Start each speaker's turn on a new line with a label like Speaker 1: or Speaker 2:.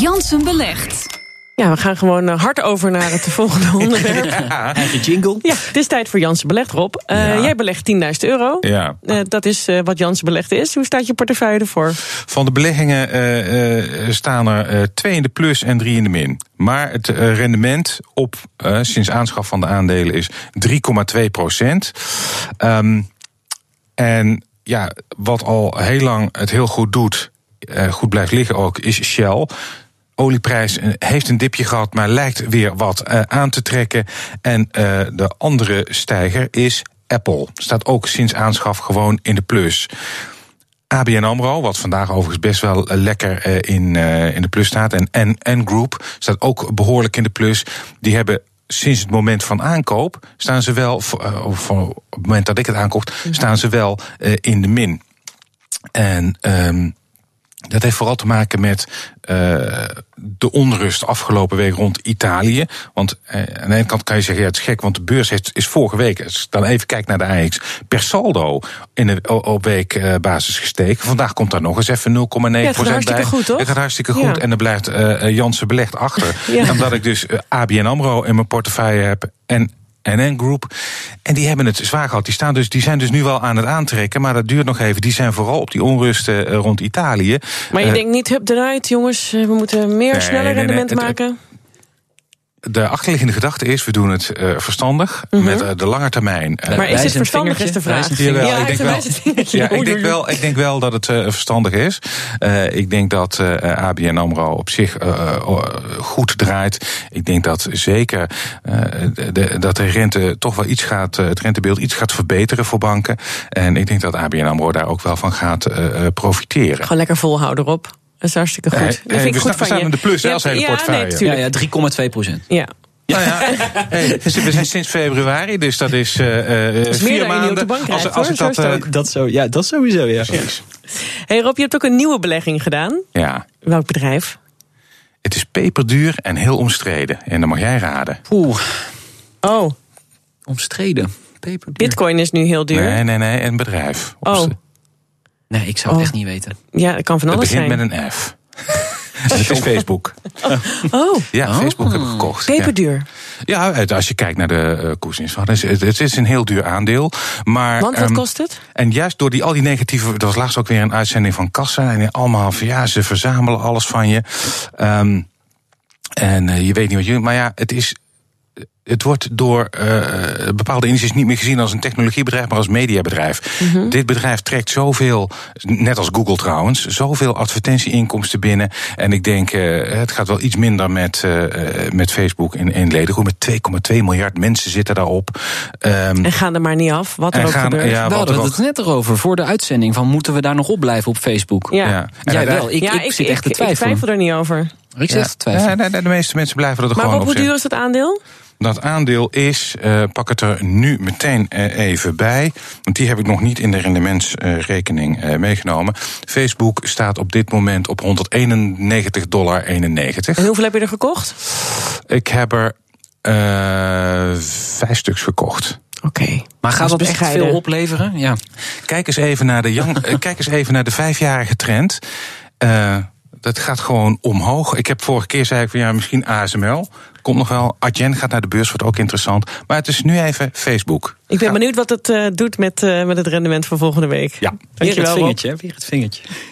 Speaker 1: Jansen belegt.
Speaker 2: Ja, we gaan gewoon eh, hard over naar het volgende onderwerp.
Speaker 3: Eigen jingle.
Speaker 2: Ja, het is tijd voor Jansen Belegd, Rob. Eh, Jij belegt 10.000 euro.
Speaker 4: Ja.
Speaker 2: Eh, dat is eh, wat Jansen Belegd is. Hoe staat je portefeuille ervoor?
Speaker 4: Van de beleggingen eh, eh, staan er eh, twee in de plus en drie in de min. Maar het eh, rendement op eh, sinds aanschaf van de aandelen is 3,2 procent. Ehm, en ja, wat al heel lang het heel goed doet, eh, goed blijft liggen ook, is Shell. Olieprijs eh, heeft een dipje gehad, maar lijkt weer wat eh, aan te trekken. En eh, de andere stijger is Apple. Staat ook sinds aanschaf gewoon in de plus. ABN AMRO, wat vandaag overigens best wel eh, lekker eh, in, eh, in de plus staat. En, en, en Group staat ook behoorlijk in de plus. Die hebben sinds het moment van aankoop, staan ze wel, voor- eh, of voor- op het moment dat ik het aankocht, staan ze wel eh, in de min. En ehm, dat heeft vooral te maken met eh, de onrust afgelopen week rond Italië. Want eh, aan de ene kant kan je zeggen, ja, het is gek, want de beurs heeft, is vorige week, als ik dan even kijk naar de AX, per saldo in de, o- op weekbasis basis gestegen. Vandaag komt daar nog eens even 0,9%
Speaker 2: Ja, het gaat hartstikke
Speaker 4: bij.
Speaker 2: goed, toch?
Speaker 4: Het gaat hartstikke
Speaker 2: Ja.
Speaker 4: goed en er blijft eh eh, Jansen belegd achter.
Speaker 2: Ja.
Speaker 4: Omdat ik dus eh, ABN AMRO in mijn portefeuille heb en... NN Group. En die hebben het zwaar gehad. Die, staan dus, die zijn dus nu wel aan het aantrekken, maar dat duurt nog even. Die zijn vooral op die onrusten eh, rond Italië.
Speaker 2: Maar je
Speaker 4: Eh,
Speaker 2: denkt niet, hup eruit jongens, eh, we moeten meer,
Speaker 4: Nee,
Speaker 2: sneller
Speaker 4: nee, nee,
Speaker 2: rendement
Speaker 4: het-
Speaker 2: maken.
Speaker 4: De achterliggende gedachte is, we doen het eh, verstandig,
Speaker 2: Mhm.
Speaker 4: met eh, de lange termijn. eh,
Speaker 2: maar is
Speaker 3: wijzend
Speaker 2: het verstandig is de
Speaker 3: vingertje,
Speaker 2: vraag.
Speaker 3: wijzend
Speaker 4: Jawel,
Speaker 3: vingertje.
Speaker 4: ik
Speaker 2: hij
Speaker 4: denk
Speaker 2: verwijst
Speaker 4: wel.
Speaker 2: het vingertje.
Speaker 4: Ja, ik
Speaker 2: Oei,
Speaker 4: denk
Speaker 2: oei,
Speaker 4: wel, ik denk wel dat het eh, verstandig is. Eh, ik denk dat eh, ABN AMRO op zich eh, eh, goed draait. Ik denk dat zeker eh, de- de, dat de rente toch wel iets gaat, eh, het rentebeeld iets gaat verbeteren voor banken. En ik denk dat ABN AMRO daar ook wel van gaat eh, eh, profiteren.
Speaker 2: Gewoon lekker volhouden, Rob. Dat is hartstikke goed.
Speaker 4: Nee,
Speaker 2: dat
Speaker 4: nee,
Speaker 2: vind ik goed
Speaker 4: we staan- we
Speaker 2: van
Speaker 4: staan
Speaker 2: je.
Speaker 4: in de plus, hè,
Speaker 2: Ja,
Speaker 4: als hele
Speaker 2: ja,
Speaker 4: portefeuille.
Speaker 2: Nee,
Speaker 3: Ja,
Speaker 2: tuurlijk.
Speaker 3: ja, 3,2 procent.
Speaker 2: ja.
Speaker 4: Nou ja, hey, we zijn sinds februari, dus dat is eh, eh,
Speaker 2: meer dan je
Speaker 4: vier
Speaker 2: op de
Speaker 4: maanden.
Speaker 2: bank krijgt,
Speaker 4: als, als
Speaker 2: hoor,
Speaker 4: ik
Speaker 2: zo
Speaker 4: dat,
Speaker 2: is het
Speaker 4: eh,
Speaker 2: ook.
Speaker 3: Dat, zo, ja, dat sowieso, ja.
Speaker 2: hey Rob, je hebt ook een nieuwe belegging gedaan.
Speaker 4: ja,
Speaker 2: Welk bedrijf?
Speaker 4: het is peperduur en heel omstreden. En dan mag jij raden.
Speaker 3: Oeh,
Speaker 2: Oh,
Speaker 3: omstreden. Peperduur.
Speaker 2: bitcoin is nu heel duur.
Speaker 4: Nee, nee, nee, een bedrijf.
Speaker 2: Oh.
Speaker 4: Omst-
Speaker 3: Nee, ik zou het
Speaker 2: Oh.
Speaker 3: echt niet weten.
Speaker 2: Ja, dat kan van
Speaker 4: Het
Speaker 2: alles
Speaker 4: begint
Speaker 2: zijn.
Speaker 4: met een F. Het is Facebook.
Speaker 2: Oh,
Speaker 4: Ja, Facebook heb ik gekocht. Ja.
Speaker 2: peperduur.
Speaker 4: Ja, het- als je kijkt naar de eh, koersinst, het, is- het is een heel duur aandeel. Maar,
Speaker 2: Want wat
Speaker 4: ehm,
Speaker 2: kost het?
Speaker 4: En juist door die, al die negatieve. Er was laatst ook weer een uitzending van Kassa. En allemaal van ja, ze verzamelen alles van je. Ehm, en eh, je weet niet wat je. Maar ja, het is. Het wordt door eh, bepaalde indices niet meer gezien als een technologiebedrijf, maar als mediabedrijf. Dit bedrijf trekt zoveel, net als Google trouwens, zoveel advertentieinkomsten binnen. En ik denk, eh, het gaat wel iets minder met, eh, eh, met Facebook in, in ledengroep. Met 2,2 miljard mensen zitten daarop. Ehm,
Speaker 2: En gaan er maar niet af, wat er
Speaker 4: En
Speaker 2: ook
Speaker 4: gaan-
Speaker 2: gebeurt.
Speaker 4: ja,
Speaker 2: Ja,
Speaker 4: wat
Speaker 3: we hadden
Speaker 4: er
Speaker 3: het net erover voor de uitzending. Van moeten we daar nog op blijven op Facebook?
Speaker 2: Ja.
Speaker 4: ja. En
Speaker 3: Jij wel.
Speaker 4: uiteindelijk-
Speaker 3: Ik, ik, zit echt te twijfelen.
Speaker 2: Ik twijfel er niet over.
Speaker 3: Ik zit echt te
Speaker 4: Ja,
Speaker 3: twijfelen.
Speaker 4: nee, nee, de meeste mensen blijven er
Speaker 2: Maar
Speaker 4: gewoon
Speaker 2: Rob,
Speaker 4: op
Speaker 2: hoe
Speaker 4: zitten.
Speaker 2: duur is dat aandeel?
Speaker 4: Dat aandeel is, eh, pak het er nu meteen eh, even bij. Want die heb ik nog niet in de rendementsrekening eh, meegenomen. Facebook staat op dit moment op 191,91 dollar.
Speaker 2: En hoeveel heb je er gekocht?
Speaker 4: Ik heb er eh, vijf stuks verkocht.
Speaker 2: Oké.
Speaker 3: Maar gaat
Speaker 2: Dat
Speaker 3: dat
Speaker 2: is
Speaker 3: echt
Speaker 2: bescheiden.
Speaker 3: veel opleveren? Ja.
Speaker 4: Kijk eens even naar de, young, eh, kijk eens even naar de vijfjarige trend. Eh, dat gaat gewoon omhoog. Ik heb vorige keer zei ik van ja, misschien ASML. Komt nog wel. Adyen gaat naar de beurs, wordt ook interessant. Maar het is nu even Facebook.
Speaker 2: Ik ben
Speaker 4: Ga-
Speaker 2: benieuwd wat het eh, doet met, eh, met het rendement van volgende week.
Speaker 3: Weer
Speaker 4: Ja.
Speaker 3: het
Speaker 2: Dankjewel Rob.
Speaker 3: vingertje, hè, weer het vingertje.